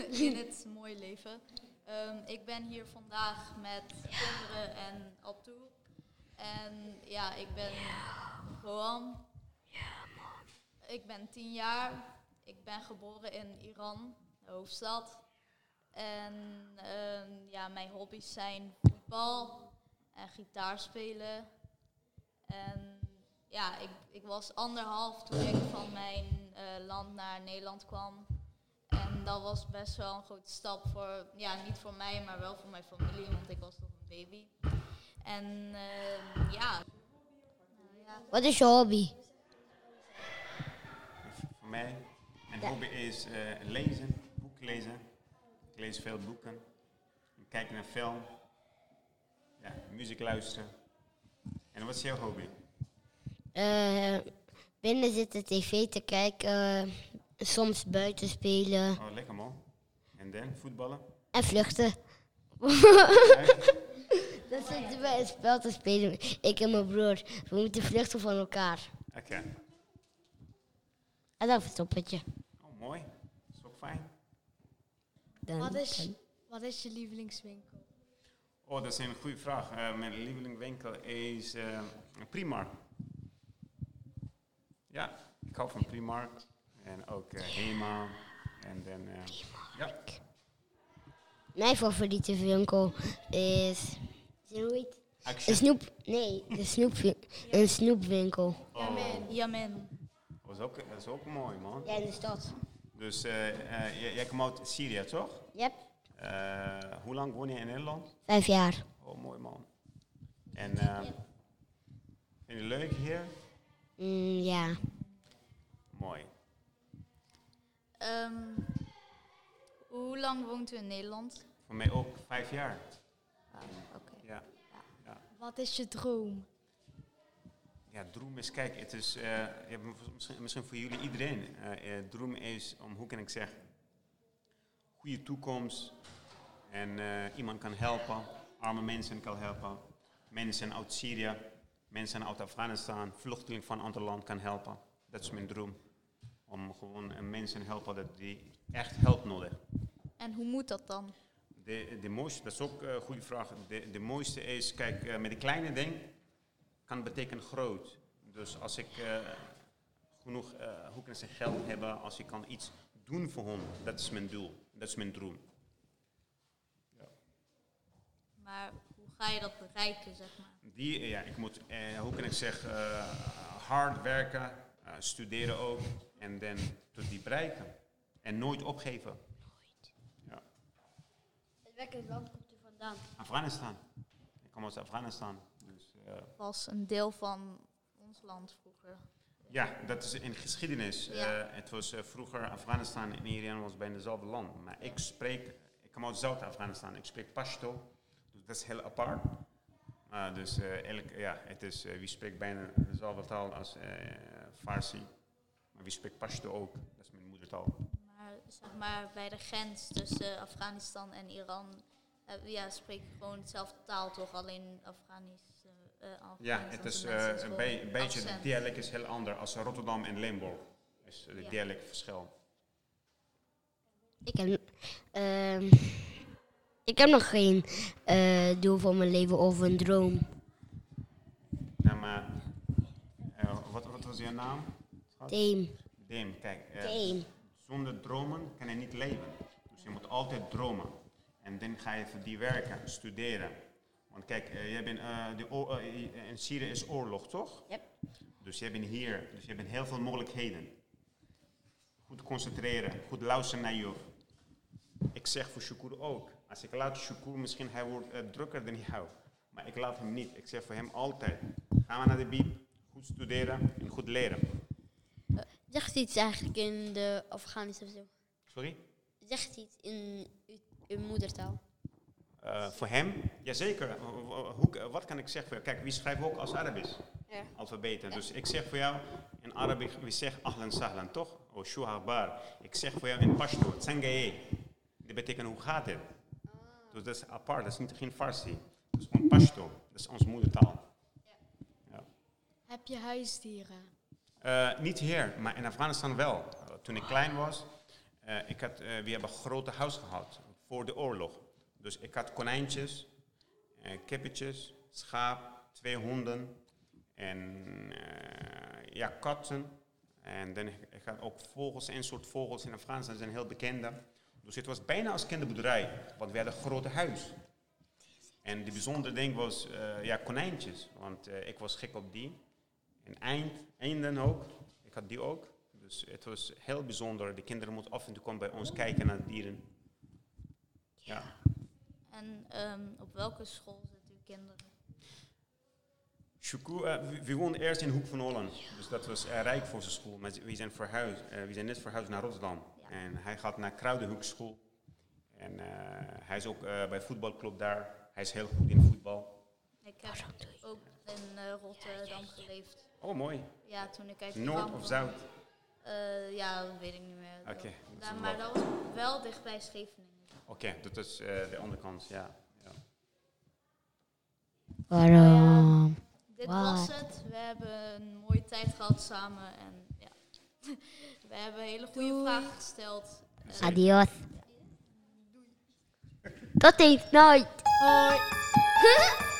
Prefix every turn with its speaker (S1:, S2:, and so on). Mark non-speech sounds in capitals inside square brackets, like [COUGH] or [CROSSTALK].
S1: [LAUGHS] even. Ehm, ik ben hier vandaag met kinderen en Abdul. En ja, ik ben Rohan. Ik ben tien jaar. Ik ben geboren in Iran, de hoofdstad. En ehm, ja, mijn hobby's zijn voetbal en gitaar spelen. En ja, ik, ik was anderhalf toen ik van mijn eh, land naar Nederland kwam. En dat was best wel een grote stap voor, ja, niet voor mij, maar wel voor mijn familie, want ik was nog een baby. En ehm, ja. Nou ja.
S2: Wat is je hobby?
S3: Voor mij, mijn
S2: Ja.
S3: hobby is eh, lezen, boeken lezen. Ik lees veel boeken. Ik kijk naar film. Ja, muziek luisteren. En wat is jouw hobby?
S2: Eh, binnen zitten tv te kijken, eh, soms buiten spelen
S3: Oh, lekker man. En dan voetballen?
S2: en vluchten.
S3: Echt?
S2: Dat zitten bij een spel te spelen, ik en mijn broer. We moeten vluchten van elkaar.
S3: Oké.
S2: En dan verstoppertje.
S3: Oh, mooi. is ook fijn.
S2: Dan,
S4: Wat is, wat is je lievelingswinkel?
S3: Oh, dat is een goede vraag. Eh, mijn lievelingwinkel is eh, Primark. Ja, ik hou van Primark. En ook eh, Hema. En dan... eh, ja.
S2: Mijn favoriete winkel is... Hoe heet het? Een
S3: Action.
S2: snoep... Nee, de snoep, een snoepwinkel.
S3: Oh.
S1: Jamin.
S3: Dat is ook, dat is ook mooi, man.
S2: Ja, in de stad.
S3: Dus eh, eh, jij- jij komt uit Syrië, toch?
S2: Yep.
S3: Eh, hoe lang woon je in Nederland?
S2: Vijf jaar.
S3: Oh, mooi, man. En eh, vind je het leuk hier?
S2: Mm, ja.
S3: Mooi.
S1: Ehm, hoe lang woont u in Nederland?
S3: Voor mij ook vijf jaar. Ja.
S4: Wat is je droom?
S3: Ja, droom is, kijk, het is, eh, ja, m- misschien, misschien voor jullie iedereen. Eh eh, droom is, om, hoe kan ik zeggen, goede toekomst. En eh, iemand kan helpen, arme mensen kan helpen. Mensen uit Syrië, mensen uit Afghanistan, vluchtelingen van een ander land kan helpen. Dat is mijn droom. Om gewoon eh, mensen helpen dat die echt hulp nodig hebben.
S1: En hoe moet dat dan?
S3: De, de mooiste, dat is ook een goede vraag. De, de mooiste is, kijk, eh, met een kleine ding kan betekenen groot. Dus als ik eh, genoeg, eh, hoe kan ze geld hebben, als ik kan iets doen voor hem, dat is mijn doel, dat is mijn droom.
S1: Maar hoe ga je dat bereiken, zeg maar?
S3: Die, eh, ja, ik moet, eh, hoe kan ik zeggen, eh, hard werken, eh, studeren ook, en dan tot die bereiken. En nooit opgeven. Ja.
S2: Welke land komt u vandaan?
S3: Afghanistan. Ik kom uit Afghanistan. Dus, eh,
S1: Was een deel van ons land vroeger.
S3: Ja, dat is in geschiedenis.
S1: Ja.
S3: Eh, het was eh, vroeger Afghanistan en Iran was bijna hetzelfde land. Maar ik spreek, ik kom uit Zuid-Afghanistan, ik spreek Pashto. Dus dat is heel apart. Maar dus eh, elk, ja, het is, eh, wie spreekt bijna dezelfde taal als eh, Farsi. Maar wie spreekt Pashto ook, dat is mijn moedertaal.
S1: Maar zeg maar bij de grens tussen Afghanistan en Iran eh, ja, spreek je gewoon dezelfde taal, toch? Alleen Afghanisch. eh, eh,
S3: Ja,
S1: Afghanistanse
S3: het is eh,
S1: mensen is
S3: een,
S1: gewoon
S3: bij- een beetje,
S1: accent.
S3: het dialect is heel anders als Rotterdam en Limburg. Is het
S1: Ja.
S3: dialectverschil.
S2: Ik heb, ehm, ik heb nog geen eh, doel voor mijn leven of een droom.
S3: Ja, maar, eh, wat, wat was jouw naam?
S2: Team.
S3: Dim, kijk. eh,
S2: Team.
S3: Zonder dromen kan je niet leven. Dus je moet altijd dromen. En dan ga je voor die werken, studeren. Want kijk, eh, jij bent, eh, de oor- eh, eh, in Syrië is oorlog, toch?
S2: Yep.
S3: Dus jij bent hier. Dus je hebt heel veel mogelijkheden. Goed concentreren, goed luisteren naar jou. Ik zeg voor Shukur ook. Als ik laat Shukur, misschien hij wordt eh, drukker dan jou. Maar ik laat hem niet. Ik zeg voor hem altijd. Gaan we naar de biep, goed studeren en goed leren.
S5: Zegt iets eigenlijk in de Afghanische of zo?
S3: Sorry?
S5: Zegt iets in uw, uw moedertaal?
S3: Eh, voor hem? Jazeker. Eh, eh, Hoe, eh, wat kan ik zeggen voor jou? Kijk, wie schrijven ook als Arabisch?
S5: Ja.
S3: Alfabeten. Dus ik zeg voor jou in Arabisch, wie zegt ahlan sahlan, toch? Of shuhabar. Ik zeg voor jou in Pashto, tsangaye. Dat betekent hoe gaat het?
S5: Ah.
S3: Dus dat is apart, dat is niet, geen Farsi. Dat is gewoon Pashto, dat is onze moedertaal. Ja.
S4: Heb je huisdieren?
S3: Eh, niet hier, maar in Afghanistan wel. Eh, toen ik klein was, eh, ik had, eh, we hebben een grote huis gehad. voor de oorlog. Dus ik had konijntjes, eh, kippetjes, schaap, twee honden en eh, ja, katten. En dan ik had ook vogels, een soort vogels in Afghanistan zijn heel bekende. Dus het was bijna als kinderboerderij, want we hadden een groot huis. En de bijzondere ding was eh, ja, konijntjes, want eh, ik was gek op die. En eind, einden ook, ik had die ook. Dus het was heel bijzonder. De kinderen moeten af en toe komen bij ons kijken naar dieren. Ja.
S1: En ehm, op welke school zitten uw kinderen?
S3: Shuku, eh, we- we woonden eerst in Hoek van Holland. Dus dat was eh, rijk voor zijn school. Maar ze- we zijn, verhuisd, eh, we zijn net verhuisd naar Rotterdam.
S1: Ja.
S3: En hij gaat naar Kruidenhoekschool. En eh, hij is ook eh, bij voetbalclub daar. Hij is heel goed in voetbal.
S1: Ik heb ook in eh, Rotterdam geleefd.
S3: Oh, mooi.
S1: Ja, toen ik uit
S3: Noord
S1: Iran
S3: of
S1: kwam.
S3: Zuid?
S1: Eh, ja, dat weet ik niet meer.
S3: Oké, dat is
S1: Daar-
S3: een
S1: maar
S3: lot.
S1: dat was wel dichtbij Scheveningen.
S3: Oké, dat is eh, de andere kant, ja. ja.
S5: Oh,
S2: Waarom?
S1: Dit
S2: Wat?
S1: was het. We hebben een mooie tijd gehad samen. En ja, [LAUGHS] we hebben hele goede vragen gesteld.
S2: Adios. [LAUGHS] Tot eens, nooit. Hoi.